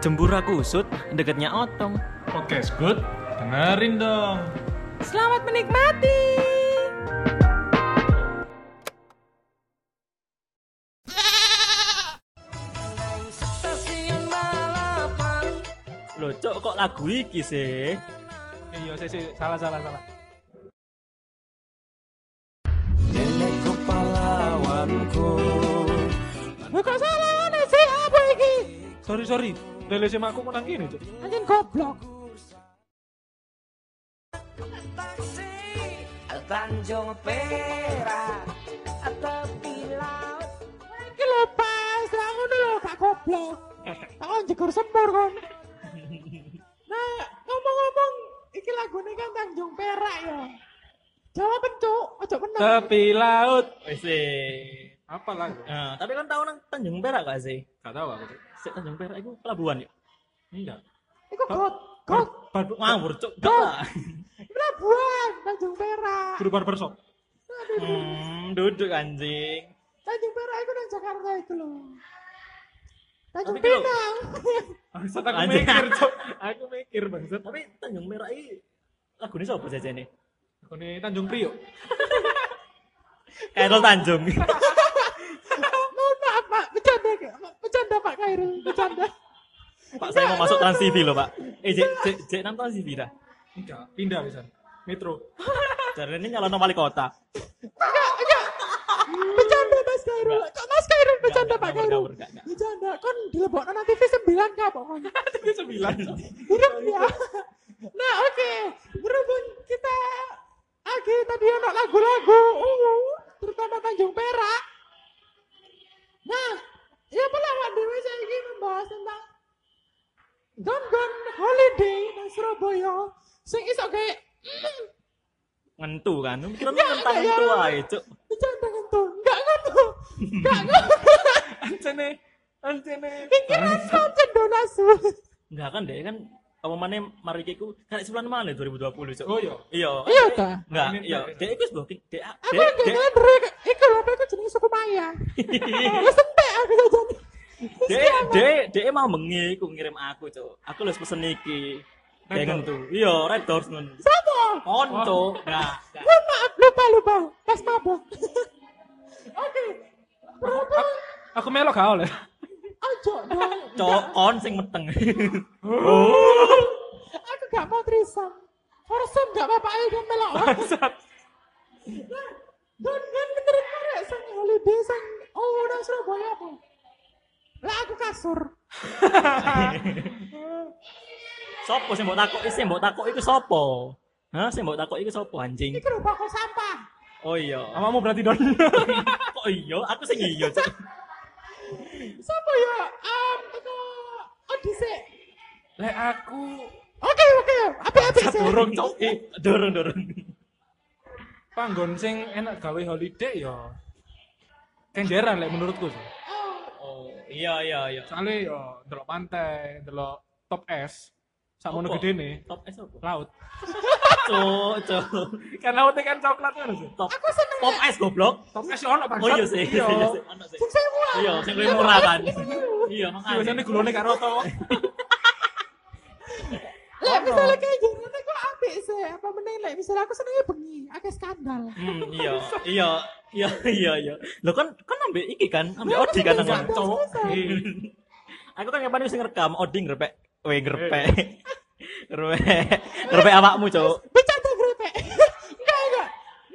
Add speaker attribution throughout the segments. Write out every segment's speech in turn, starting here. Speaker 1: Jembura kusut, deketnya otong.
Speaker 2: Podcast good, dengerin dong.
Speaker 3: Selamat menikmati.
Speaker 1: Loh, Cok, kok lagu iki sih?
Speaker 2: Iya, sih, sih, salah, salah, salah.
Speaker 3: Gue kok salah aneh sih apa iki?
Speaker 2: Sorry, sorry. Lele sama aku menang gini, Cuk.
Speaker 3: Anjing goblok.
Speaker 4: Tanjung Perak tepi laut
Speaker 3: Iki lho pas, lah ngono lho gak goblok. Aku njegur sempur kon. Nah, ngomong-ngomong, iki lagune kan Tanjung Perak ya. Jawab pencuk, ojo meneng.
Speaker 2: Tepi laut.
Speaker 1: Wis sih.
Speaker 2: Apa lagu?
Speaker 1: Nah, tapi kan tahu nang Tanjung Perak gak sih?
Speaker 2: Gak tahu aku, Cuk.
Speaker 1: Sik Tanjung Perak itu pelabuhan yuk.
Speaker 2: Enggak.
Speaker 3: Iku got,
Speaker 2: Ber-
Speaker 3: got.
Speaker 2: bar- bar-
Speaker 1: Ngawur, Cok. Gak lah.
Speaker 3: Pelabuhan Tanjung Perak.
Speaker 2: Guru barber shop.
Speaker 1: Hmm, duduk anjing.
Speaker 3: Tanjung Perak iku nang Jakarta iku lho. Tanjung
Speaker 1: Tapi kalau-
Speaker 3: Pinang.
Speaker 2: Bangsat aku
Speaker 1: Anjing.
Speaker 2: mikir, Cuk. Aku mikir, bangsat.
Speaker 1: Tapi Tanjung Perak ini lagunya siapa jajane?
Speaker 2: Aku nih Tanjung Priok.
Speaker 1: Kairul Tanjung.
Speaker 3: Mohon maaf, Pak. Bercanda, Pak. Bercanda, Pak Kairul. Bercanda.
Speaker 1: Pak, saya mau masuk Trans TV loh, Pak. Eh, Jek, Jek, Jek nang Trans TV dah.
Speaker 2: Enggak, pindah bisa. Metro.
Speaker 1: Jarene ini nyalon wali kota.
Speaker 3: Bercanda, Mas Kairul. Kok Mas Kairul bercanda,
Speaker 1: Enggak,
Speaker 3: Pak
Speaker 1: enggak,
Speaker 3: Kairul?
Speaker 1: enggak, enggak, enggak.
Speaker 3: Bercanda. Kon dilebokno nang TV 9 Kak, pokoknya.
Speaker 2: Ini
Speaker 1: Kan,
Speaker 2: sembilan. Cuk.
Speaker 3: Hidup ya. Nah, oke. Berhubung kita lagi tadi ono lagu-lagu, ungu, terutama Tanjung Perak. Nah, ya pula Pak Dewi saya ingin membahas tentang Gon Gon Holiday nang Surabaya. Sing iso kayak hmm,
Speaker 1: Ngentu kan. Kira ngentah
Speaker 3: enggak,
Speaker 1: itu
Speaker 3: enggak.
Speaker 1: ae, Cuk.
Speaker 3: bercanda gitu. Enggak ngono. Enggak ngono.
Speaker 2: Ancene. Ancene.
Speaker 3: Pikiran kau cendonasu.
Speaker 1: Enggak kan deh kan apa mana mari kiku kan sebulan mana 2020 cok.
Speaker 2: Oh, iya.
Speaker 1: Iya.
Speaker 3: Iya, ta?
Speaker 1: Enggak,
Speaker 2: Amin,
Speaker 1: iya.
Speaker 2: Pak.
Speaker 1: Dek iku wis booking dek ah,
Speaker 3: Aku
Speaker 1: dek
Speaker 3: yang
Speaker 1: dek
Speaker 3: kayak ngedrek. Iku lho, apa iku jenenge suku Maya. Wes entek aku ya Iya, jajane.
Speaker 1: dek dek dek mau bengi iku ngirim aku cok. Aku lho pesen iki.
Speaker 2: Red Oh.
Speaker 1: Dek
Speaker 2: Door.
Speaker 1: ngentu. Iya, Red Doors ngono.
Speaker 3: Sopo?
Speaker 1: On cok. Enggak. enggak.
Speaker 3: Mohon maaf, lupa lupa. Pas mabuk. Oke. Berhubung
Speaker 2: Aku melok gak oleh.
Speaker 3: ojo dong.
Speaker 1: Cok on sing meteng.
Speaker 3: Aku gak mau trisam. Foursome gak apa-apa ayo kan melok.
Speaker 2: Bangsat.
Speaker 3: Dan kan beneran korek sang holiday sang oh udah Surabaya apa? Lah aku kasur.
Speaker 1: Sopo sing mbok takok sing mbok takok iku sopo? Hah, sing mbok takok iku sopo anjing?
Speaker 3: Ini kerupuk kok sampah.
Speaker 1: Oh iya.
Speaker 2: Amamu berarti don.
Speaker 1: Kok iya? Aku sing iya cok.
Speaker 3: Siapa ya? Um, teko Odise.
Speaker 2: Lek aku
Speaker 3: Oke oke, apa-apa sih?
Speaker 2: Dorong cok. Eh,
Speaker 1: Dorong dorong.
Speaker 2: panggon sing enak gawe holiday ya kenjeran lek menurutku sih.
Speaker 3: Oh,
Speaker 1: Oh, iya iya iya.
Speaker 2: soalnya ya delok pantai delok top es sama
Speaker 1: Apa?
Speaker 2: gede nih
Speaker 1: Top S apa?
Speaker 2: laut
Speaker 1: Cuk, cuk.
Speaker 2: kan lautnya kan coklat kan sih
Speaker 1: Top
Speaker 3: aku seneng. ya.
Speaker 1: Top S goblok.
Speaker 2: top es ya ono bang
Speaker 1: Oh iya sih.
Speaker 2: iya
Speaker 1: Iya sih. Ono sih.
Speaker 3: Sing sewa.
Speaker 1: Iya, sing luwih murah kan. Iya,
Speaker 2: biasanya
Speaker 1: makanya.
Speaker 2: gulone kan. karo to
Speaker 1: Iya
Speaker 3: Lek misalnya kayak gini nek kok apik sih. Apa meneh lek misalnya aku senengnya bengi, akeh skandal.
Speaker 1: Hmm, iya, iya, iya, iya, iya. Lo kan kan ambek iki kan, ambek Odi kan
Speaker 3: Iya,
Speaker 1: nang.
Speaker 3: iya.
Speaker 2: cowok
Speaker 1: Aku kan kapan wis ngerekam Odi ngrepek, we ngrepek. Ngrepek. Ngrepek awakmu, Cuk.
Speaker 3: Bercanda grepe. Enggak enggak.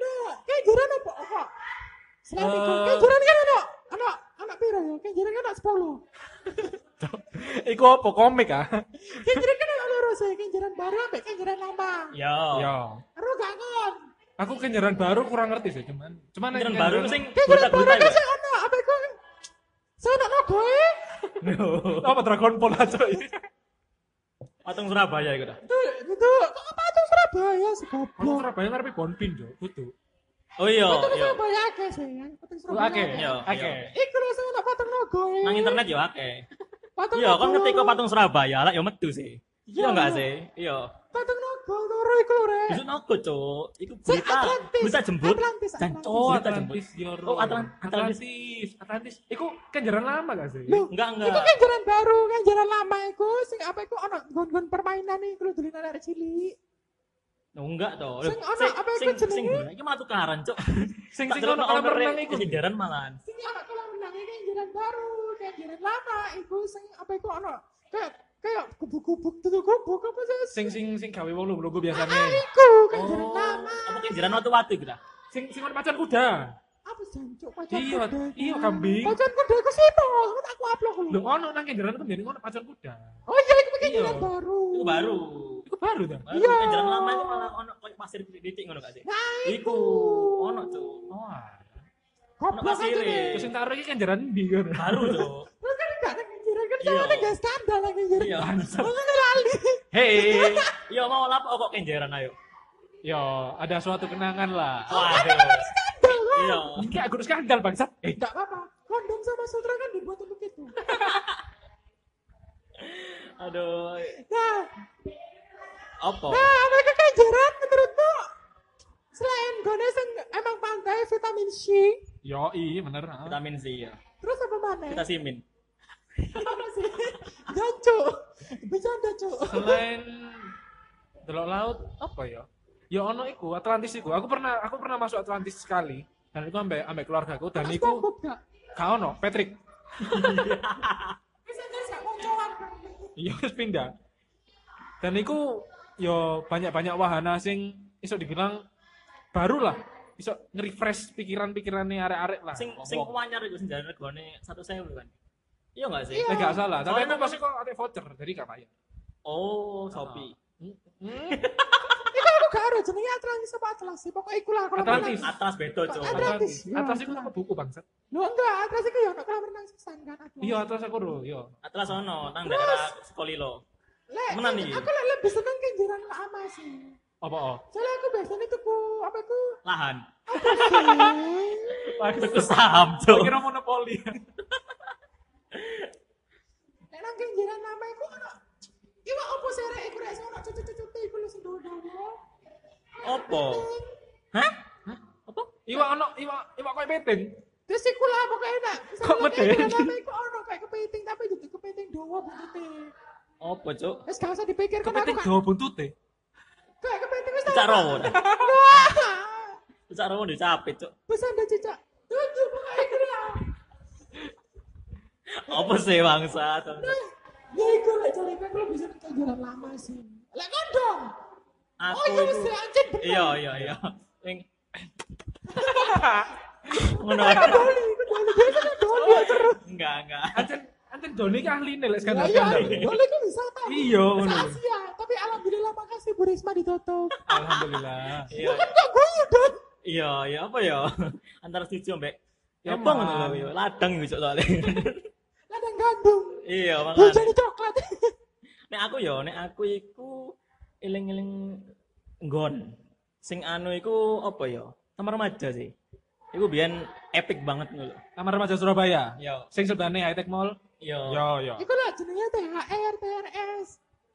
Speaker 3: Nah, kayak jiran apa kok? Selain itu,
Speaker 2: Eh.
Speaker 3: kayak jiran kan ono ono anak piro ya? Kayak jiran kan ono 10.
Speaker 2: iku apa komik ah
Speaker 3: Kayak jiran kan ono loro sih, kayak jiran baru ambek kayak jiran lama.
Speaker 1: Iya.
Speaker 2: ya
Speaker 3: Ero gak ngon.
Speaker 2: aku kenjeran baru kurang ngerti sih cuman cuman
Speaker 1: Kenjeran
Speaker 2: kenjeran-
Speaker 1: baru sing
Speaker 3: Kayak jiran baru
Speaker 1: berita-berita
Speaker 3: kan
Speaker 1: ya.
Speaker 3: sih ono apa iku? Saya nak nogoe.
Speaker 2: apa Dragon Ball aja iya.
Speaker 1: Patung Surabaya iku dah.
Speaker 3: Itu itu kok apa tuh Surabaya sih
Speaker 2: Aku
Speaker 3: goblok.
Speaker 2: Surabaya ngarepe Bonpin jo, kudu.
Speaker 1: Oh iya, iya.
Speaker 3: Itu
Speaker 1: Oh,
Speaker 3: Surabaya akeh sih, yang penting Surabaya.
Speaker 2: Oke,
Speaker 1: Iya,
Speaker 2: oke.
Speaker 1: iya.
Speaker 3: Iku lho sing ono patung nogoe.
Speaker 1: Nang internet yo akeh.
Speaker 3: Patung
Speaker 1: Iya, kan
Speaker 3: nogoe.
Speaker 1: ketika patung Surabaya lah yo metu sih. Iya
Speaker 3: gitu? Iya,
Speaker 1: enggak
Speaker 3: iya.
Speaker 1: sih? Iya.
Speaker 3: patung nogo naga loro iku lho rek.
Speaker 1: Besok nogo, Cuk. Iku
Speaker 3: Sing
Speaker 1: berita,
Speaker 3: Atlantis.
Speaker 1: berita jembut.
Speaker 3: Atlantis,
Speaker 1: Dan
Speaker 3: Atlantis.
Speaker 1: Cuk, berita jembut.
Speaker 2: Atlantis ya, Ro.
Speaker 1: Oh, Atlan- Atlantis.
Speaker 2: Atlantis Atlantis iku kenjaran lama gak sih
Speaker 3: Loh,
Speaker 1: Enggak, enggak.
Speaker 3: Iku kan jalan baru, kan jalan lama iku sing apa iku ono gon-gon permainan iku lho dolanan arek cilik.
Speaker 1: Oh, enggak toh.
Speaker 3: Sing ono, apa iku jenenge?
Speaker 1: sing iki malah tukaran, Cuk.
Speaker 2: sing
Speaker 1: Tak
Speaker 2: sing
Speaker 1: delok
Speaker 2: ono kolam
Speaker 1: owner-e
Speaker 2: renang iku
Speaker 1: kehindaran malahan.
Speaker 3: Sing ono kolam renang iki kan jalan baru, kan jalan lama iku sing apa iku ono kayak kayak kubu-kubu tutu kubu apa sih?
Speaker 2: sing sing sing gawe wong lungguh biasanya
Speaker 3: Ah, iku kan
Speaker 2: Oh.
Speaker 3: jalan lama.
Speaker 1: Apa kehindaran watu-watu iku dah?
Speaker 2: sing sing ono macan kuda
Speaker 3: Apa jancuk pacar
Speaker 2: Iya,
Speaker 3: kuda iku.
Speaker 2: iya, kambing.
Speaker 3: Pacar kuda iku sino? Kan aku upload lho.
Speaker 2: lho ono nang kenjaran itu biasanya ono macan kuda
Speaker 3: Oh iya iku pakai
Speaker 2: Iya.
Speaker 3: jalan baru.
Speaker 1: Iku baru.
Speaker 2: iku baru ta
Speaker 1: Baru
Speaker 3: Iya.
Speaker 1: kehindaran lama itu malah ono koyo pasir titik ngono gak sih?
Speaker 3: Nah,
Speaker 1: Iku ono, Cuk.
Speaker 2: wah
Speaker 1: Ono
Speaker 3: Goblok aja
Speaker 1: pasire.
Speaker 3: deh.
Speaker 2: terus sing taruh iki kenjaran ndi kan
Speaker 1: Baru, Cuk.
Speaker 3: Terus kan enggak ada jalan kan
Speaker 1: Iya.
Speaker 3: soalnya enggak standar lagi jalan.
Speaker 1: Iya.
Speaker 3: Terus kan lali.
Speaker 1: Hei, yo mau lapo kok kenjeran ayo.
Speaker 2: yo ada suatu kenangan lah
Speaker 1: Waduh.
Speaker 3: Kan Standar lah.
Speaker 1: Iya.
Speaker 2: Ini aku harus skandal bangsat. Eh,
Speaker 3: Enggak apa-apa. Kondom sama sutra kan dibuat untuk itu.
Speaker 1: Aduh.
Speaker 3: Nah,
Speaker 1: Apa?
Speaker 3: nah mereka kejaran menurutku selain gone sing emang pantai vitamin C,
Speaker 2: yo i bener. ah.
Speaker 1: Vitamin C ya.
Speaker 3: terus apa mana?
Speaker 1: Kita simin.
Speaker 3: Apa sih? Jancu. Bercanda, Cuk.
Speaker 2: Selain delok laut apa ya? Ya ono iku Atlantis iku. Aku pernah aku pernah masuk Atlantis sekali. Dan iku ambek ambek keluargaku dan
Speaker 3: Mas
Speaker 2: iku
Speaker 3: takut nggak?
Speaker 2: gak ono Patrick.
Speaker 3: Bisa terus gak mau cowan.
Speaker 2: Yo harus Iya, pindah. Dan iku yo banyak-banyak wahana sing iso dibilang baru lah. Iso nge-refresh pikiran-pikirannya arek-arek lah.
Speaker 1: Sing sing
Speaker 2: Wong-wong.
Speaker 1: kuanyar iku sing jalan regone 1.000 kan. Iya enggak sih?
Speaker 2: Eh, gak salah. Tapi
Speaker 1: Soalnya
Speaker 2: aku pasti kok ada voucher, jadi gak payah.
Speaker 1: Oh, Shopee.
Speaker 2: Hmm.
Speaker 3: Iku aku gak ada jenenge Atlantis apa Atlas sih. Pokoknya iku lah kalau
Speaker 2: Atlantis.
Speaker 3: menang.
Speaker 1: Atas Hmm. bedo, Cuk.
Speaker 3: Ada. Atlantis,
Speaker 2: Atlantis.
Speaker 3: iya,
Speaker 2: Atlas itu
Speaker 3: Atlas.
Speaker 2: apa buku bangsat?
Speaker 3: Lu enggak, Atlas iku ya gak kalah menang sesan kan Atlas.
Speaker 2: Iya, Atlas aku dulu, yo.
Speaker 1: Atlas ono nang daerah Sekolilo.
Speaker 3: Lek,
Speaker 1: Temenan iki.
Speaker 3: aku lek lebih seneng kejaran lama sih.
Speaker 2: Apa oh?
Speaker 3: Soalnya aku biasanya tuku apa itu
Speaker 1: Lahan.
Speaker 3: sih?
Speaker 1: Itu saham, Cuk.
Speaker 2: Kira monopoli.
Speaker 3: Nek nang kenjeran lama iku ono iwak opo sih rek iku rek sing ono cucu-cucu iku lho sing dawa-dawa.
Speaker 1: Opo? Hah?
Speaker 2: Apa? Iwak ono, iwak iwak koyo peting.
Speaker 3: Terus iku lah pokoknya enak.
Speaker 2: Kok medeni?
Speaker 3: Lama iku ono kayak kepiting tapi duduk kepiting dawa buntute.
Speaker 1: Opo, Cuk?
Speaker 3: Wis gak usah dipikir kok aku
Speaker 2: Kepiting
Speaker 3: gak
Speaker 2: Jawa buntute.
Speaker 3: kayak kepiting wis
Speaker 1: Cak rowo. dah.
Speaker 3: Wah.
Speaker 1: Cak rowo dicapit, Cuk.
Speaker 3: Pesan dah cicak. Tujuh pokoknya iku lah.
Speaker 1: Apa sih bangsa?
Speaker 3: Nah, Ya iku lek jare iku lu bisa kenjeran lama sih. Lek kondom.
Speaker 1: Aku
Speaker 3: Oh iya
Speaker 1: iku-
Speaker 3: wis anjir bener.
Speaker 1: Iya, iya, iya. Sing ngono. ae.
Speaker 3: Doli, iku doli biasanya doli ya terus.
Speaker 1: Enggak, enggak.
Speaker 2: Anten anten Doni ki ahline lek
Speaker 3: Ya
Speaker 2: skandal
Speaker 3: iya,
Speaker 2: skandal.
Speaker 3: doli kan wisata.
Speaker 2: Iya,
Speaker 1: Oh,
Speaker 3: Masa
Speaker 2: ngono.
Speaker 3: Asia, ya. tapi alhamdulillah makasih Bu Risma ditutup.
Speaker 2: Alhamdulillah.
Speaker 1: Iya.
Speaker 3: Kan kok guyu dong.
Speaker 1: Iya, iya apa ya? Antara setuju mbek.
Speaker 2: Ya,
Speaker 1: Ya apa ngono
Speaker 2: Man.
Speaker 1: lho, iya. ladang iku Cuk, soalnya.
Speaker 3: Ladang gandum.
Speaker 1: Iya,
Speaker 3: Hujan
Speaker 1: makane.
Speaker 3: coklat.
Speaker 1: Nek aku ya, nek aku iku eling-eling nggon. Sing anu iku apa ya? Kamar remaja sih. Iku biyen epic banget ngono lho.
Speaker 2: Kamar remaja Surabaya.
Speaker 1: Iya.
Speaker 2: Sing sebelahnya High Tech Mall.
Speaker 1: Iya.
Speaker 2: Yo yo.
Speaker 3: Iku lah jenenge THR, TRS.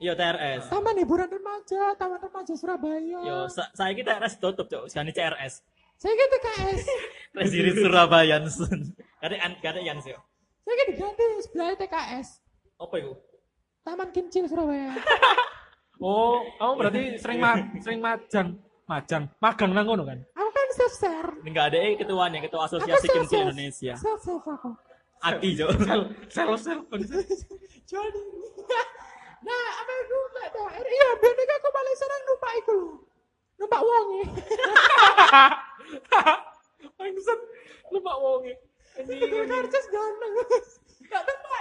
Speaker 1: Iya TRS.
Speaker 3: Taman hiburan remaja, Taman Remaja Surabaya.
Speaker 1: Yo, sa saiki TRS tutup, Cuk. Sekarang CRS.
Speaker 3: Saya ke TKS.
Speaker 1: Resiri Surabaya Sun. Kare an kare yang sih.
Speaker 3: Saya ke diganti sebelah TKS.
Speaker 1: Apa iku?
Speaker 3: Taman Kincil Surabaya.
Speaker 2: Oh, kamu berarti sering ma sering majang, majang, magang nang ngono kan?
Speaker 3: Aku kan self-serve.
Speaker 1: Enggak ada eh ketuanya, ketua
Speaker 3: Aku
Speaker 1: Asosiasi Kimchi
Speaker 3: self-serve.
Speaker 1: Indonesia.
Speaker 3: Self-serve aku.
Speaker 1: Aki, Cuk.
Speaker 2: Sel sel bangsat.
Speaker 3: Jadi. Nah, apa itu nggak tahu? Iya, biar nih aku paling senang numpak itu loh. Numpak uang ya.
Speaker 2: Bangsat. Lupa wonge.
Speaker 3: Itu karcis ganteng. Gak numpak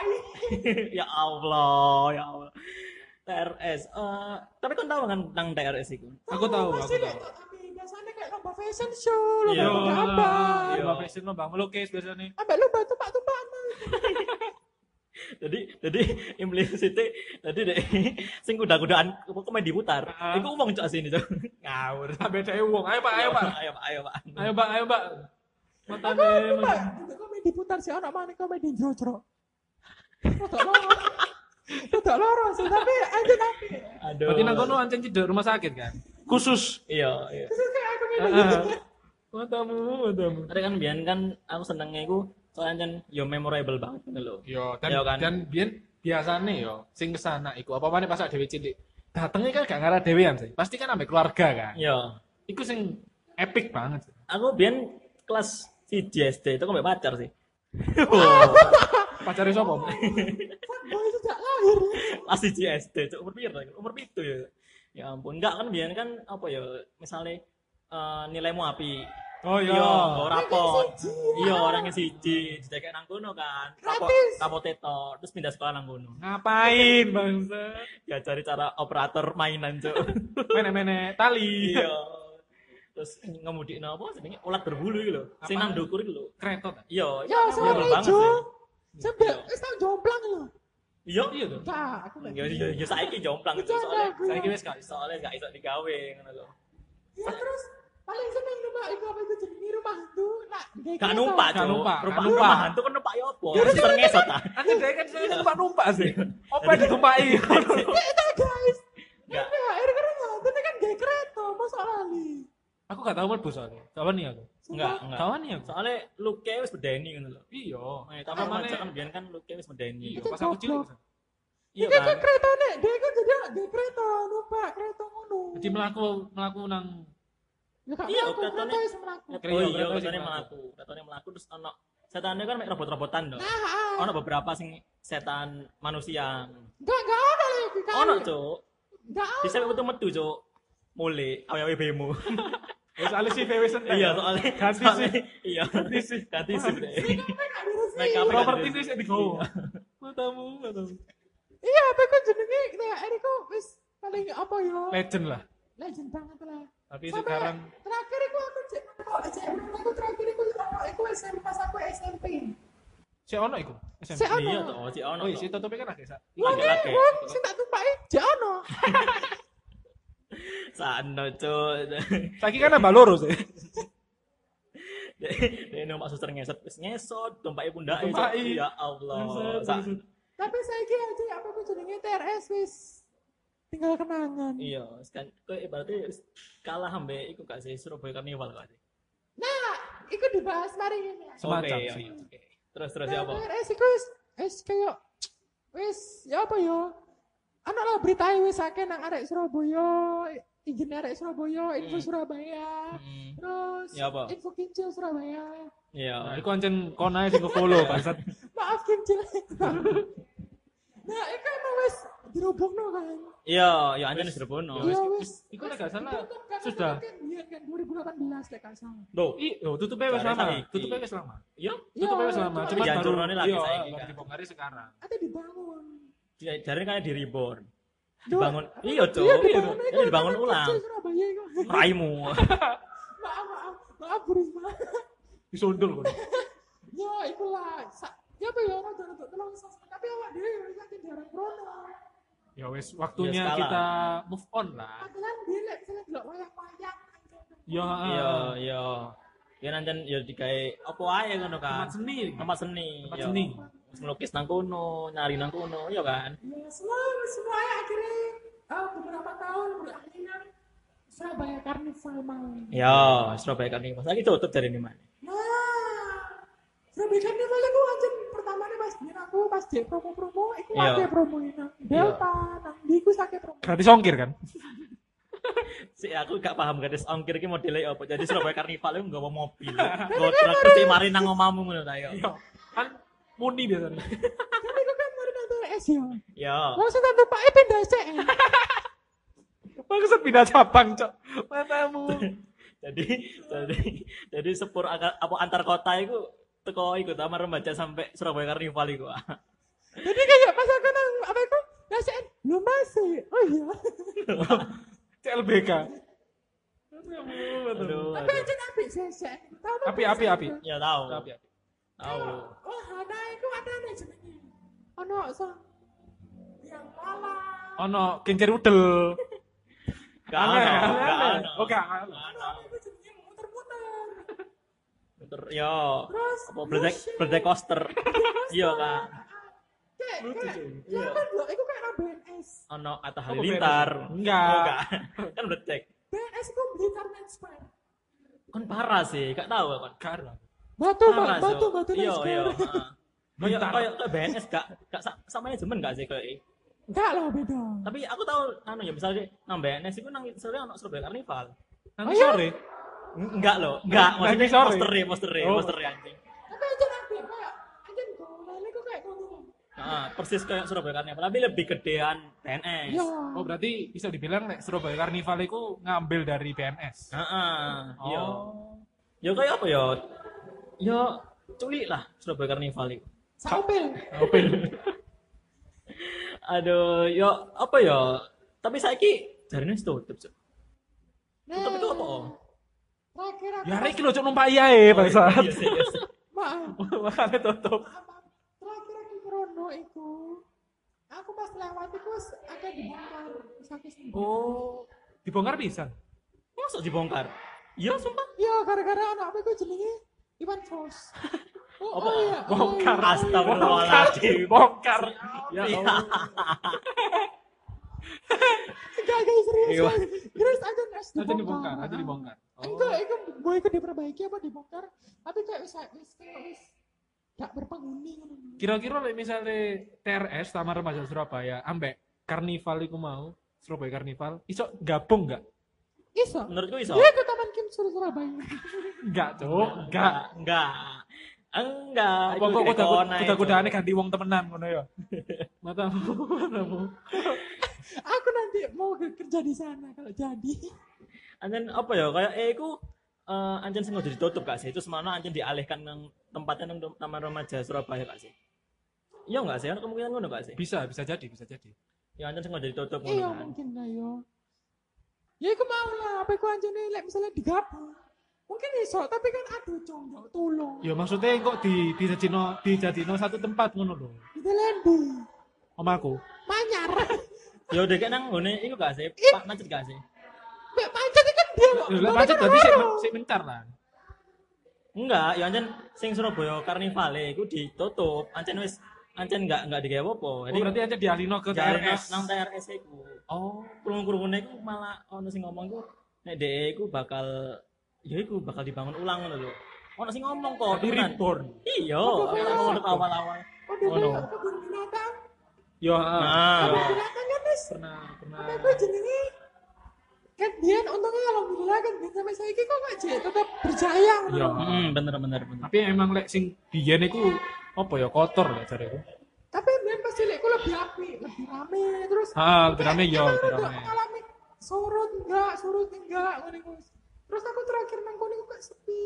Speaker 1: ya
Speaker 3: ya.
Speaker 1: Allah, ya Allah. TRS. Eh, tapi kan tahu kan tentang TRS itu?
Speaker 2: Aku tahu, aku
Speaker 3: Pasti
Speaker 2: tahu.
Speaker 3: lihat tuh, tapi biasanya kayak lomba fashion show, lomba
Speaker 1: Iya.
Speaker 2: Yo.
Speaker 3: gambar.
Speaker 1: Iya.
Speaker 2: Lomba fashion, lomba melukis biasanya.
Speaker 3: Ambek lomba tumpak-tumpakan.
Speaker 1: Jadi jadi implicitnya tadi deh sing kuda-kudaan apa komedi putar.
Speaker 2: Ah.
Speaker 1: Iku wong cok sini, Cuk. Ngawur.
Speaker 2: Sampai dhewe wong. Ayo Pak, ayo Pak.
Speaker 1: Ayo, Pak, ayo, Pak.
Speaker 2: Ayo Mbak, ayo Mbak. Matane
Speaker 3: Mbak, komedi putar sih anak mana komedi jojro. Oh, tak mau. Tidak loro sih, tapi anjir tapi.
Speaker 1: Aduh.
Speaker 2: Berarti nang kono ancen cedek rumah sakit kan. Khusus.
Speaker 1: Iya, iya.
Speaker 3: Terus kayak aku ini.
Speaker 1: ah.
Speaker 2: Heeh. Matamu, matamu.
Speaker 1: Tapi kan biyen kan aku senengnya iku soalnya kan yo memorable banget gitu ngono lho.
Speaker 2: Yo, dan
Speaker 1: Yo kan.
Speaker 2: dan biyen biasane yo sing kesana iku apa mana pas dhewe cilik. Datengnya kan gak ngarah dhewean sih. Pasti kan ambek keluarga kan.
Speaker 1: Iya.
Speaker 2: Iku sing epic banget.
Speaker 1: Aku biyen kelas 1 SD itu kok mbek pacar sih.
Speaker 2: Pacare sapa?
Speaker 3: Kan Boy sejak lahir.
Speaker 1: Kelas 1 SD cuk umur piro? iku? Umur 7 ya. Ya ampun, enggak kan biyen kan apa ya misalnya eh, nilaimu api
Speaker 2: Oh iya.
Speaker 1: Iya, nggo rapot.
Speaker 3: Orangnya siji.
Speaker 1: Iya, orangnya siji, dijaga nang kono kan. Rapot,
Speaker 3: Gratis.
Speaker 1: rapot itu, terus pindah sekolah nang kono.
Speaker 2: Ngapain bangsa?
Speaker 1: Ya cari cara operator mainan, Cuk.
Speaker 2: Mene-mene tali.
Speaker 1: iya. Terus ngemudi apa jenenge ulat berbulu iki lho. Sing nang
Speaker 2: Apa?
Speaker 1: ndukur iki lho.
Speaker 2: Kretot. ah?
Speaker 1: Iya,
Speaker 3: Ya,
Speaker 1: iya,
Speaker 3: sorry,
Speaker 1: bener
Speaker 3: Cuk.
Speaker 1: sih.
Speaker 3: Sampai wis tau jomplang lho.
Speaker 1: Iya, iya to.
Speaker 3: Nah, aku
Speaker 1: Ya
Speaker 3: nggak.
Speaker 1: ya ya saiki jomplang Cuk,
Speaker 3: Bercanda
Speaker 1: soalnya
Speaker 3: aku.
Speaker 1: saiki wis gak soalnya gak iso digawe ngono lho.
Speaker 3: Ya terus paling seneng rumah iku apa itu jenenge rumah hantu. Nah, kayak
Speaker 1: Gak
Speaker 3: gitu.
Speaker 1: numpak,
Speaker 2: Gak
Speaker 1: Cuk.
Speaker 2: numpak, gak
Speaker 1: Rumah
Speaker 2: numpak.
Speaker 1: rumah hantu kan numpak ya apa? Suster ngesot ta.
Speaker 2: Anjir dhewe kan sing numpak-numpak sih. Apa ditumpai?
Speaker 3: Ya itu guys.
Speaker 1: Nggak.
Speaker 3: Ini akhir kan rumah hantu ini kan gak kereta, masa lali.
Speaker 2: Aku gak tahu mlebu soalnya. Kawan nih aku.
Speaker 1: Enggak, enggak.
Speaker 2: Kawan nih aku.
Speaker 1: Soalnya luke wis bedeni ngono lho.
Speaker 2: Iya.
Speaker 1: Eh, tapi
Speaker 2: Tapi
Speaker 1: remaja kan
Speaker 2: mana?
Speaker 1: biyen kan luke wis medeni.
Speaker 2: Iya, pas aku cilik.
Speaker 3: Goblok.
Speaker 1: Iya
Speaker 3: Ini kan
Speaker 1: kan?
Speaker 3: kereta nek, dia kan jadi gak kereta, numpak kereta ngono.
Speaker 2: Jadi melaku melaku nang
Speaker 3: Ya gak
Speaker 1: Iya,
Speaker 3: melaku,
Speaker 1: keretanya-
Speaker 3: kereta wis melaku.
Speaker 1: Oh
Speaker 2: Kreo,
Speaker 1: iya,
Speaker 2: kreo sing
Speaker 1: katanya
Speaker 2: melaku. Hmm.
Speaker 1: melaku. Katanya melaku terus ono setannya kan mek robot-robotan lho.
Speaker 3: Nah, ah.
Speaker 1: Ono beberapa sing setan
Speaker 2: Kan.
Speaker 1: manusia.
Speaker 3: Enggak, enggak ada lagi kan.
Speaker 1: Ono, Cuk.
Speaker 3: Enggak ada.
Speaker 1: Bisa metu-metu, Cuk. Mule, awe-awe bemo.
Speaker 2: Wis alih sih VW seneng.
Speaker 1: Iya, soalnya
Speaker 2: ganti
Speaker 1: soalnya-
Speaker 2: sih.
Speaker 1: Iya, ganti sih. Ganti sih. Dek.
Speaker 3: Enggak kan diresmi.
Speaker 1: Make up-nya
Speaker 2: Properti
Speaker 1: ganti
Speaker 2: sih di go. Matamu, matamu.
Speaker 3: Iya, apa kan jenenge nek ini kok wis paling apa ya?
Speaker 2: Legend lah.
Speaker 3: Legend banget lah.
Speaker 2: Tapi sekarang
Speaker 3: terakhir aku aku cek kok cek aku terakhir aku aku SMP pas aku SMP.
Speaker 2: si ono iku. SMP.
Speaker 3: Sik ono.
Speaker 1: Iya, toh, si ono.
Speaker 2: Oh, iya,
Speaker 1: toh.
Speaker 2: si totope kan agak sak.
Speaker 3: Wah,
Speaker 1: Lagi,
Speaker 3: nek
Speaker 1: lagi.
Speaker 3: wong sing tak tumpaki jek ono.
Speaker 1: Sano, Cuk.
Speaker 2: Saiki kan nambah loro sih.
Speaker 1: Dek, dek numpak suster ngesot, wis ngesot, tumpake pundake. Cuk.
Speaker 2: Tumpaki.
Speaker 1: Ya Allah. Sa-
Speaker 3: Tapi saiki aja apa aku jenenge TRS wis tinggal kenangan.
Speaker 1: Iya, kan kowe berarti wis kalah ambek iku gak sih Surabaya Karnival gak sih?
Speaker 3: Nah, iku dibahas mari ini.
Speaker 2: Semacam
Speaker 1: Oke,
Speaker 2: sih.
Speaker 1: oke, oke. Terus terus
Speaker 3: Nah,
Speaker 1: ya apa?
Speaker 3: TRS iku wis wis kayak wis ya apa ya? Anak lah berita wis akeh nang arek Surabaya, izin arek Surabaya, info
Speaker 1: Hmm.
Speaker 3: Surabaya.
Speaker 1: Hmm,
Speaker 3: Terus
Speaker 1: Ya apa?
Speaker 3: info Kincil Surabaya.
Speaker 1: Iya.
Speaker 2: Nah, iku ancen kono ae sing follow bangsat.
Speaker 3: Maaf Kincil. nah, iku emang wis dirobongno kan.
Speaker 1: Iya, ya anjane Sirbono.
Speaker 3: Iya wis.
Speaker 2: iku nek gak salah,
Speaker 3: ditutup kan,
Speaker 2: sudah.
Speaker 3: kan, Iya kan 2018 nek gak salah.
Speaker 1: Loh,
Speaker 2: Ih, yo tutupnya wis
Speaker 1: Jare
Speaker 2: lama.
Speaker 1: saiki.
Speaker 2: Tutupnya wis lama.
Speaker 1: iya,
Speaker 2: Tutupnya wis lama.
Speaker 1: Tapi
Speaker 2: Cuma baru
Speaker 1: dihancurkan lagi
Speaker 2: iya,
Speaker 1: saiki,
Speaker 2: baru
Speaker 1: kan.
Speaker 2: dibongkari sekarang.
Speaker 3: Ada dibangun.
Speaker 1: dia- iya, jare kayak di reborn.
Speaker 3: Duh,
Speaker 1: Dibangun. Iya, Cuk.
Speaker 3: Iya,
Speaker 1: Iya,
Speaker 3: dibangun,
Speaker 1: Cuk.
Speaker 3: iku
Speaker 1: dibangun
Speaker 3: anak
Speaker 1: ulang.
Speaker 3: Kincil Surabaya iku.
Speaker 2: Ah.
Speaker 1: Raimu.
Speaker 3: Maaf, maaf. Maaf Bu Risma.
Speaker 2: Disundul kono.
Speaker 3: Ya, iku lah. Sa- Ya apa ya orang jangan untuk tolong sosmed tapi awak dhewe ya yakin jarang krono.
Speaker 2: Ya wes waktunya
Speaker 1: Ya, skala.
Speaker 2: kita move on lah.
Speaker 3: Padahal dia lek misalnya delok wayang-wayang.
Speaker 2: Ya,
Speaker 1: Iya, iya. Ya nanten ya digawe apa ae ngono kan.
Speaker 2: tempat seni.
Speaker 1: Tempat seni.
Speaker 2: Tempat
Speaker 1: iya.
Speaker 2: seni.
Speaker 1: Terus melukis nang kono, nyari nang kono, iya kan?
Speaker 3: Ya, semua semuanya akhirnya eh, beberapa tahun berakhirnya Surabaya Carnival mau.
Speaker 1: Iya, Surabaya Karnival. Saiki tutup dari ini, Mas.
Speaker 3: Nah, Surabaya Carnival aku aja pertama nih pas biar aku pas di promo-promo, aku
Speaker 1: Iya.
Speaker 3: pakai promo ini nang Delta, nang di aku pakai promo.
Speaker 2: Gratis ongkir kan?
Speaker 1: Si aku gak paham garis ongkir iki modele apa. Jadi Surabaya Karnival iku nggawa mobil, nggawa truk terus di mari nang omamu ngono ta yo.
Speaker 2: Iya. Kan muni biasanya.
Speaker 3: Tapi aku kan baru nonton S ya.
Speaker 1: Iya.
Speaker 3: Langsung tanpa Pak E pindah SC.
Speaker 2: Maksud pindah cabang, Cok. Matamu.
Speaker 1: Jadi jadi jadi sepur aga- apa antar kota iku teko iku Taman Remaja sampai Surabaya Karnival iku.
Speaker 3: Jadi kayak pas aku nang apa aku SC lu masih. Oh iya.
Speaker 2: CLBK. Matamu, matamu.
Speaker 1: Aduh.
Speaker 3: Tapi
Speaker 1: aduh.
Speaker 3: aja api sih SC. Tahu
Speaker 2: Api, api, api.
Speaker 1: Ya tahu.
Speaker 2: Tapi ya.
Speaker 1: Tahu.
Speaker 3: Wah, ada itu ada nih jenenge. Ono so. Yang malam.
Speaker 2: Ono kencir udel.
Speaker 1: Gak ada, gak ada.
Speaker 2: Oh, gak ono.
Speaker 1: Gak
Speaker 3: Ono
Speaker 1: ada.
Speaker 3: itu jenenge muter-muter.
Speaker 1: Bener, yo.
Speaker 3: Terus
Speaker 1: Apa black
Speaker 3: motion.
Speaker 1: black coaster. Iya kan.
Speaker 3: Kayak kayak
Speaker 2: Lucu,
Speaker 3: kayak
Speaker 2: cuy.
Speaker 1: Iya.
Speaker 3: ya kan dok, itu kayak nang BNS.
Speaker 1: Ono Atta Halilintar.
Speaker 2: Enggak.
Speaker 1: Oh, enggak. kan udah cek.
Speaker 3: BNS itu beli karena spam.
Speaker 1: Kan parah sih, gak tahu ya, aku.
Speaker 2: Karo.
Speaker 3: Batu, Mbak,
Speaker 1: Parah,
Speaker 3: batu,
Speaker 1: Cok.
Speaker 3: batu,
Speaker 1: Iya,
Speaker 3: Nesper.
Speaker 1: iya. heeh. Kayak
Speaker 2: Bentar.
Speaker 1: kayak kayak BNS gak gak sa- sama manajemen gak sih kayak
Speaker 3: Enggak lah, beda.
Speaker 1: tapi aku tahu anu ya misalnya nang BNS itu nang sore ono Surabaya Karnival
Speaker 2: Nanti
Speaker 3: Oh, iya?
Speaker 2: sore.
Speaker 1: N- enggak loh enggak
Speaker 2: Nanti
Speaker 1: maksudnya
Speaker 2: sore.
Speaker 1: poster ya, poster
Speaker 2: Oh.
Speaker 1: poster anjing
Speaker 3: Tapi aja nanti kayak, aja golan itu kayak ngono.
Speaker 1: Nah, persis kayak Surabaya Karnival tapi lebih gedean BNS
Speaker 3: Ya.
Speaker 2: Oh berarti bisa dibilang nek Surabaya Karnival itu ngambil dari BNS.
Speaker 1: Heeh, iya.
Speaker 2: Oh.
Speaker 1: Ya kayak apa ya? Ya culik lah Surabaya Karnival itu.
Speaker 3: Sampel.
Speaker 2: Open.
Speaker 1: Aduh, ya apa ya? Tapi saiki jarine wis tutup. Cuk. Tutup itu apa?
Speaker 3: Nah, Terakhir aku.
Speaker 2: ya rek lo cok numpak iya ya bangsa.
Speaker 1: Iya sih, iya sih.
Speaker 3: Maaf.
Speaker 2: Makanya tutup.
Speaker 3: Maaf. Terakhir aku krono itu. Aku pas lewat itu agak dibongkar. Terus aku sendiri.
Speaker 2: Oh, dibongkar bisa.
Speaker 1: Masuk dibongkar. Iya sumpah.
Speaker 3: Iya, gara-gara anak aku itu jenenge Iwan Fals. Oh,
Speaker 1: Apa?
Speaker 3: oh iya. oh
Speaker 2: Bongkar.
Speaker 3: iya.
Speaker 1: Astagfirullahaladzim.
Speaker 2: Bongkar. Ya
Speaker 1: Ya
Speaker 2: Allah.
Speaker 3: Enggak, guys, serius.
Speaker 1: Iya.
Speaker 3: guys. Serius aja Nes
Speaker 2: Nanti dibongkar, nanti dibongkar. Oh.
Speaker 3: Enggak, itu gue ikut diperbaiki apa dibongkar. Tapi kayak wis wis kayak wis gak berpenghuni ngono.
Speaker 2: Kira-kira like, misalnya TRS Taman Remaja Surabaya ambek Karnival iku mau Surabaya Karnival iso gabung nggak?
Speaker 3: Iso.
Speaker 1: Menurutku iso.
Speaker 3: Dia ke Taman Kim Sur Surabaya.
Speaker 2: Enggak, Cuk. Oh, Enggak.
Speaker 1: Enggak. Enggak.
Speaker 2: Apa
Speaker 1: Iku
Speaker 2: kok kuda
Speaker 1: dekona, Cuk.
Speaker 2: kuda kudaan ganti wong temenan ngono ya. Matamu, matamu.
Speaker 3: Aku nanti mau ke- kerja di sana kalau jadi.
Speaker 1: Anjen apa ya? Kayak eh iku eh, anjen sengaja ditutup gak sih? Terus mana anjen dialihkan nang tempatnya nang Taman Remaja Surabaya gak sih? Iya enggak sih? Ada kemungkinan ngono gak sih?
Speaker 2: Bisa, bisa jadi, bisa jadi.
Speaker 1: Ya anjen sengaja ditutup ngono.
Speaker 3: Iya
Speaker 1: kan.
Speaker 3: mungkin lah yo. Ya iku mau lah, apa iku anjene lek misalnya digabung. Mungkin iso, tapi kan aduh cung yo tulung.
Speaker 2: Ya maksudnya kok di di Jadino, di Jadino satu tempat ngono lho.
Speaker 3: Kita lembu.
Speaker 2: Om aku.
Speaker 3: Manyar.
Speaker 1: Ya udah kayak nang ngene iku gak sih? Pak macet gak sih?
Speaker 3: Mbak pancet iki kan dia
Speaker 2: Lah
Speaker 3: kok. Tapi
Speaker 2: Ya, macet
Speaker 3: kan
Speaker 2: tadi sik
Speaker 3: karo.
Speaker 2: sik mencar lah.
Speaker 1: Enggak, ya anjen sing Surabaya Karnivale iku ditutup. Ancen wis ancen enggak enggak digawe apa.
Speaker 2: Oh, berarti aja dialino ke TRS.
Speaker 1: nang TRS iku.
Speaker 2: Oh,
Speaker 1: Kurung-kurungnya iku malah ono sing ngomong iku nek dhek iku bakal ya iku bakal dibangun ulang ngono lho. Ono sing ngomong kok.
Speaker 2: tapi
Speaker 1: temenan.
Speaker 2: reborn.
Speaker 1: Iya,
Speaker 3: Aduh,
Speaker 1: aku
Speaker 3: kayak-
Speaker 1: ngono awal-awal.
Speaker 3: Udah
Speaker 2: Ngono.
Speaker 3: kayak kebun binatang.
Speaker 2: Yo,
Speaker 1: Nah.
Speaker 3: Binatang kan wis
Speaker 2: Ya, pernah pernah.
Speaker 3: Tapi aku jenenge kan dia untungnya alhamdulillah kan dia sampai saiki kok gak jek tetap berjaya ngono.
Speaker 2: Yo.
Speaker 1: Hmm, bener bener bener.
Speaker 2: Tapi emang lek sing biyen iku apa ya kotor lek jareku.
Speaker 3: tapi mbiyen pas cilik ku lebih api lebih rame terus
Speaker 2: Ah, lebih rame, iya,
Speaker 3: emang
Speaker 2: lebih
Speaker 3: rada
Speaker 2: rame.
Speaker 3: ngalami surut enggak surut enggak ngono iku. terus aku terakhir nang kono iku kok sepi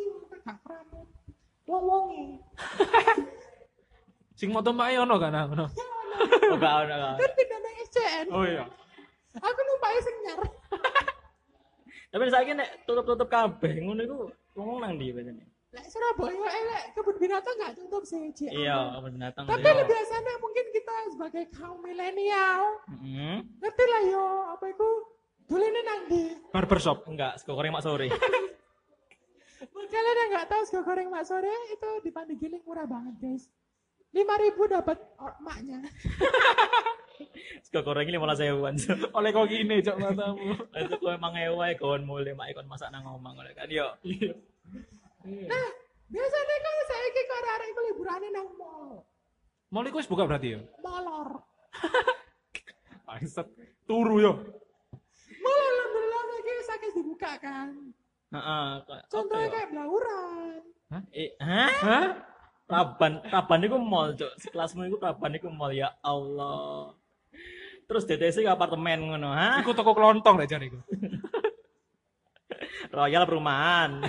Speaker 3: gak rame wong wong
Speaker 2: Sing moto mae ono kan nah, ono.
Speaker 1: Oh, gak ono. gak ono.
Speaker 3: kan pindah nang SCN
Speaker 2: Oh iya.
Speaker 3: aku numpake sing nyar
Speaker 1: Tapi saiki nek tutup-tutup kabeh ngono iku ngomong nang ndi biasanya?
Speaker 3: lek Surabaya eh lek kebun binatang gak tutup sih Cik.
Speaker 1: Iya, kebun binatang.
Speaker 3: tapi
Speaker 1: sih.
Speaker 3: lebih biasanya mungkin kita sebagai kaum milenial
Speaker 1: Heeh.
Speaker 3: ngerti lah yo apa iku dolene nang ndi
Speaker 2: Barbershop.
Speaker 1: Enggak, sego goreng mak sore.
Speaker 3: Buat kalian yang nggak tahu sego goreng mak sore itu di Pandegiling murah banget guys. Lima ribu dapat oh, or- maknya.
Speaker 1: Sego goreng ini malah saya buan.
Speaker 2: Oleh kok gini cok matamu.
Speaker 1: Itu kowe emang ewe kon mulai mak ikon masak nang omah ngono kan yo.
Speaker 3: Nah biasanya kan kalau saya ke arah-arah itu liburannya nang mall,
Speaker 2: Mall iku wis buka berarti ya.
Speaker 3: molor.
Speaker 2: Bangsat. Turu yo.
Speaker 3: Mall alhamdulillah lagi sakit dibuka kan.
Speaker 1: Heeh.
Speaker 3: Contohnya kayak belauran.
Speaker 1: Eh, hah?
Speaker 2: Hah?
Speaker 1: Raban, Raban iku mall, Cuk. Sekelasmu iku Raban iku mall ya Allah. Terus DTC ke apartemen ngono, ha?
Speaker 2: Iku toko kelontong lek jareku.
Speaker 1: Royal perumahan.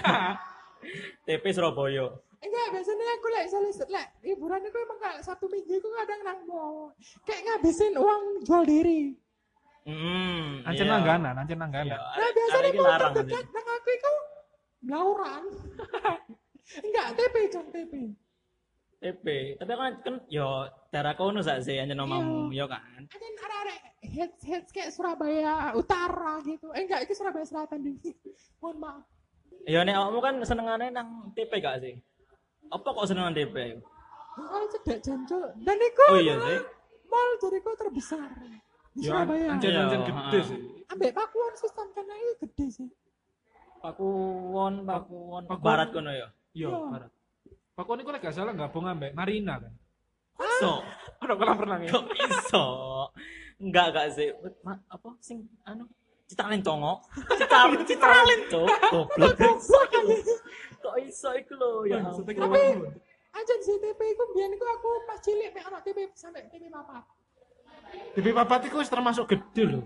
Speaker 1: TP Surabaya.
Speaker 3: Enggak, biasanya aku lek salis lek liburan aku emang nggak satu minggu aku kadang nang mall. Kayak ngabisin uang jual diri.
Speaker 1: Hmm.
Speaker 2: Ancen
Speaker 1: iya.
Speaker 2: langganan, ancen
Speaker 1: Iya,
Speaker 2: langganan.
Speaker 3: Nah
Speaker 1: arek-
Speaker 3: biasanya
Speaker 1: arek iki
Speaker 3: mall
Speaker 1: larang,
Speaker 3: terdekat nang aku itu belauran. Enggak, TP kan TP.
Speaker 1: Cuk. TP. Tapi kan kan yo daerah kono sak sih anjen omahmu yo kan.
Speaker 3: ada arek-arek heads heads kayak Surabaya Utara gitu eh enggak itu Surabaya Selatan deh mohon maaf
Speaker 1: Yo nek awakmu kan senengane nang TP gak sih? Apa kok senengan TP?
Speaker 3: kalau cedek jancuk dan itu
Speaker 1: Oh iya sih.
Speaker 3: jariku terbesar di
Speaker 2: Yo,
Speaker 3: Surabaya.
Speaker 2: anjen anjen
Speaker 1: Iya,
Speaker 2: gede
Speaker 1: ha.
Speaker 2: sih.
Speaker 3: Ambek Pakuan sistem kena itu gede sih.
Speaker 1: Pakuwon, Pakuwon,
Speaker 2: Pakuwon.
Speaker 1: Barat kono ya.
Speaker 2: Yo,
Speaker 3: Iya.
Speaker 2: parah. Pak Koni kok gak salah gabung ambek Marina kan?
Speaker 3: Ah.
Speaker 1: So,
Speaker 2: Aduh kolam renang ya.
Speaker 1: kok iso? Enggak, enggak sih. Ma, apa sing anu Citalen Congo? Citalen, Citalen tuh. Goblok. Kok iso iku lho ya.
Speaker 2: Bang,
Speaker 1: ampun.
Speaker 2: setelah kita-
Speaker 3: Ajen sih TP ku biyen ku aku pas cilik mek anak TP sampai TP papat.
Speaker 2: DP papat itu termasuk gede loh.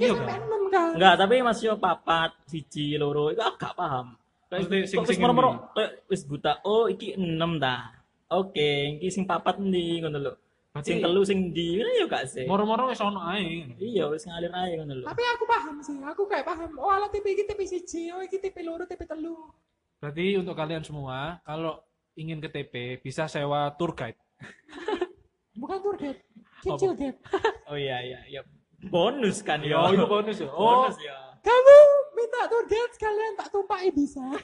Speaker 2: Iya,
Speaker 3: kira sampai
Speaker 2: Kak.
Speaker 3: enam kan.
Speaker 1: Enggak, tapi Mas yo papat, siji, loro, iku aku gak paham. Kayak
Speaker 2: Maksudnya
Speaker 1: wis-
Speaker 2: sing-
Speaker 1: kok wis
Speaker 2: sing
Speaker 1: moro-moro,
Speaker 2: endi?
Speaker 1: kayak wis buta. Oh, iki 6 ta. Oke, iki sing papat endi ngono lho.
Speaker 2: Berarti
Speaker 1: Sing telu sing endi? Ngono ya gak sih.
Speaker 2: Iya. moro-moro wis ono ae.
Speaker 1: Iya, wis ngalir ae ngono lho.
Speaker 3: Tapi aku paham sih, aku kayak paham. Oh, ala TP iki TP siji, oh iki TP loro, TP telu.
Speaker 2: Berarti untuk kalian semua kalau ingin ke TP bisa sewa tour guide.
Speaker 3: Bukan tour guide, kecil guide.
Speaker 1: Oh iya iya iya. Bonus kan yo.
Speaker 2: Yo, itu bonus ya. Oh,
Speaker 1: Bonus ya.
Speaker 3: Kamu minta tour guide sekalian tak tumpaki bisa.
Speaker 1: Oh.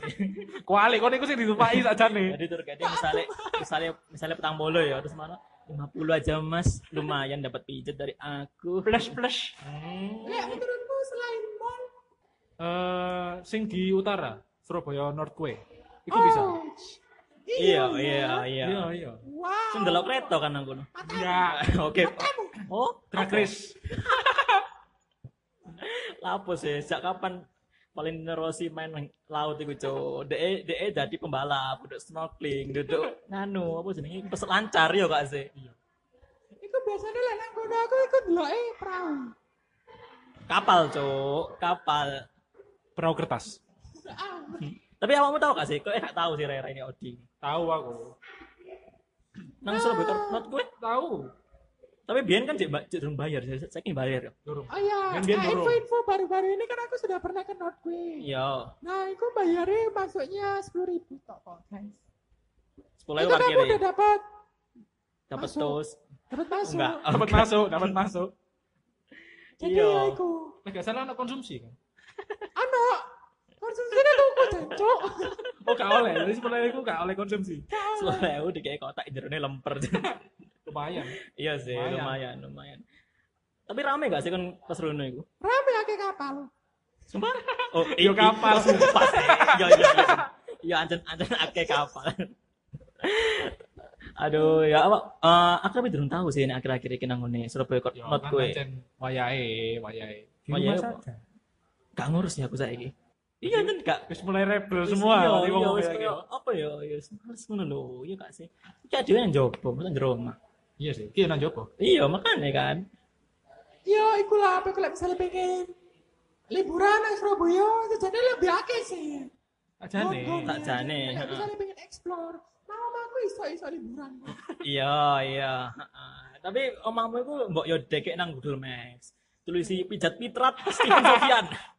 Speaker 2: kuali kon iku sing ditumpaki sakjane.
Speaker 1: Jadi targetnya misalnya misalnya misalnya petang bolo ya terus mana 50 aja mas lumayan dapat pijet dari aku.
Speaker 2: Plus plus.
Speaker 1: Hmm.
Speaker 3: Lek menurutku selain mall,
Speaker 2: Eh, sing di utara, Surabaya North Way. Iku
Speaker 1: Oh.
Speaker 2: bisa.
Speaker 1: Iya iya iya.
Speaker 2: Iya, Ah. iya.
Speaker 3: Wow.
Speaker 1: Sendelo kereta kan aku.
Speaker 2: Enggak,
Speaker 1: Oke. Oh,
Speaker 2: drag race.
Speaker 1: Lapo sih sejak kapan paling Rossi main nang laut iku cok. Dee dee jadi pembalap, duduk snorkeling, duduk nganu apa jenenge pesek lancar ya kak sih.
Speaker 3: Iku biasanya lek nang kono aku iku ndeloke perahu.
Speaker 1: Kapal cok, kapal.
Speaker 2: Perahu kertas.
Speaker 3: Ah,
Speaker 1: Tapi awakmu tahu gak sih? Kok enak tahu sih Rera ini Odi.
Speaker 2: Tahu aku.
Speaker 1: Nang Surabaya Tor- not gue.
Speaker 2: Tahu.
Speaker 1: Tapi biyen kan cek cek durung bayar, saya saya ingin bayar. ya.
Speaker 2: Durung.
Speaker 3: Oh iya,
Speaker 2: Dan dia
Speaker 3: Nah,
Speaker 2: dorong.
Speaker 3: info-info baru-baru ini kan aku sudah pernah ke Northway.
Speaker 1: Iya,
Speaker 3: Nah, aku bayarnya masuknya 10.000 ribu tok kok, guys.
Speaker 1: 10
Speaker 3: Itu
Speaker 1: euro
Speaker 3: kamu
Speaker 1: parkir.
Speaker 3: udah dapat
Speaker 1: Dapat
Speaker 3: masuk.
Speaker 1: tos.
Speaker 3: dapat masuk.
Speaker 1: Enggak.
Speaker 2: Dapat masuk, dapat masuk.
Speaker 3: Jadi
Speaker 1: Iya.
Speaker 3: ya aku,
Speaker 2: Nah, gak salah anak konsumsi kan.
Speaker 3: ano, konsumsinya tuku jancuk.
Speaker 2: Oh, gak oleh. Jadi sebenarnya aku gak oleh konsumsi.
Speaker 1: 10 euro dikei kotak jerone lemper.
Speaker 2: Lumayan.
Speaker 1: iya sih, lumayan,
Speaker 2: Lumayan.
Speaker 1: lumayan. Tapi rame gak sih kan pas rono iku?
Speaker 3: Rame akeh kapal.
Speaker 1: Sumpah? Oh, i-
Speaker 2: Yo,
Speaker 1: i-
Speaker 2: kapal.
Speaker 1: oh, Sumpah Iya, sih. Yo yo yo. Yo Iya, anjen anjen akeh kapal. Aduh, ya apa? Eh, aku tapi durung tahu sih ini akhir-akhir ini nang ngene Surabaya Kot-
Speaker 2: Yo,
Speaker 1: Not
Speaker 2: kan
Speaker 1: gue.
Speaker 2: pancen wayahe, wayahe. Di
Speaker 1: Wayahe
Speaker 2: rumah
Speaker 1: apa?
Speaker 2: saja.
Speaker 1: Gak ngurus ya aku saiki. Iya anjen gak
Speaker 2: Wis mulai rebel
Speaker 1: Wis,
Speaker 2: semua.
Speaker 1: iya
Speaker 2: nanti
Speaker 1: iya
Speaker 2: ngomong
Speaker 1: wis
Speaker 2: kayak
Speaker 1: kaya
Speaker 2: gitu.
Speaker 1: apa ya ya wis males ngono lho iya gak sih iki adewe nang jopo mesti nang jero omah
Speaker 2: Iya sih. Ki nang jopo.
Speaker 1: iya makane kan
Speaker 3: Yo, iku lah, apa kalau misalnya pengen liburan nang Surabaya, jadi lebih akeh sih.
Speaker 2: Ajane.
Speaker 3: Gondong,
Speaker 1: Tak
Speaker 3: ya.
Speaker 1: jane,
Speaker 3: Kalau
Speaker 1: ha.
Speaker 3: misalnya pengen explore, nama aku iso-iso liburan.
Speaker 1: iya iya heeh. tapi omahmu iku mbok yo dekek nang Google Maps tulisi pijat pitrat Steven Sofian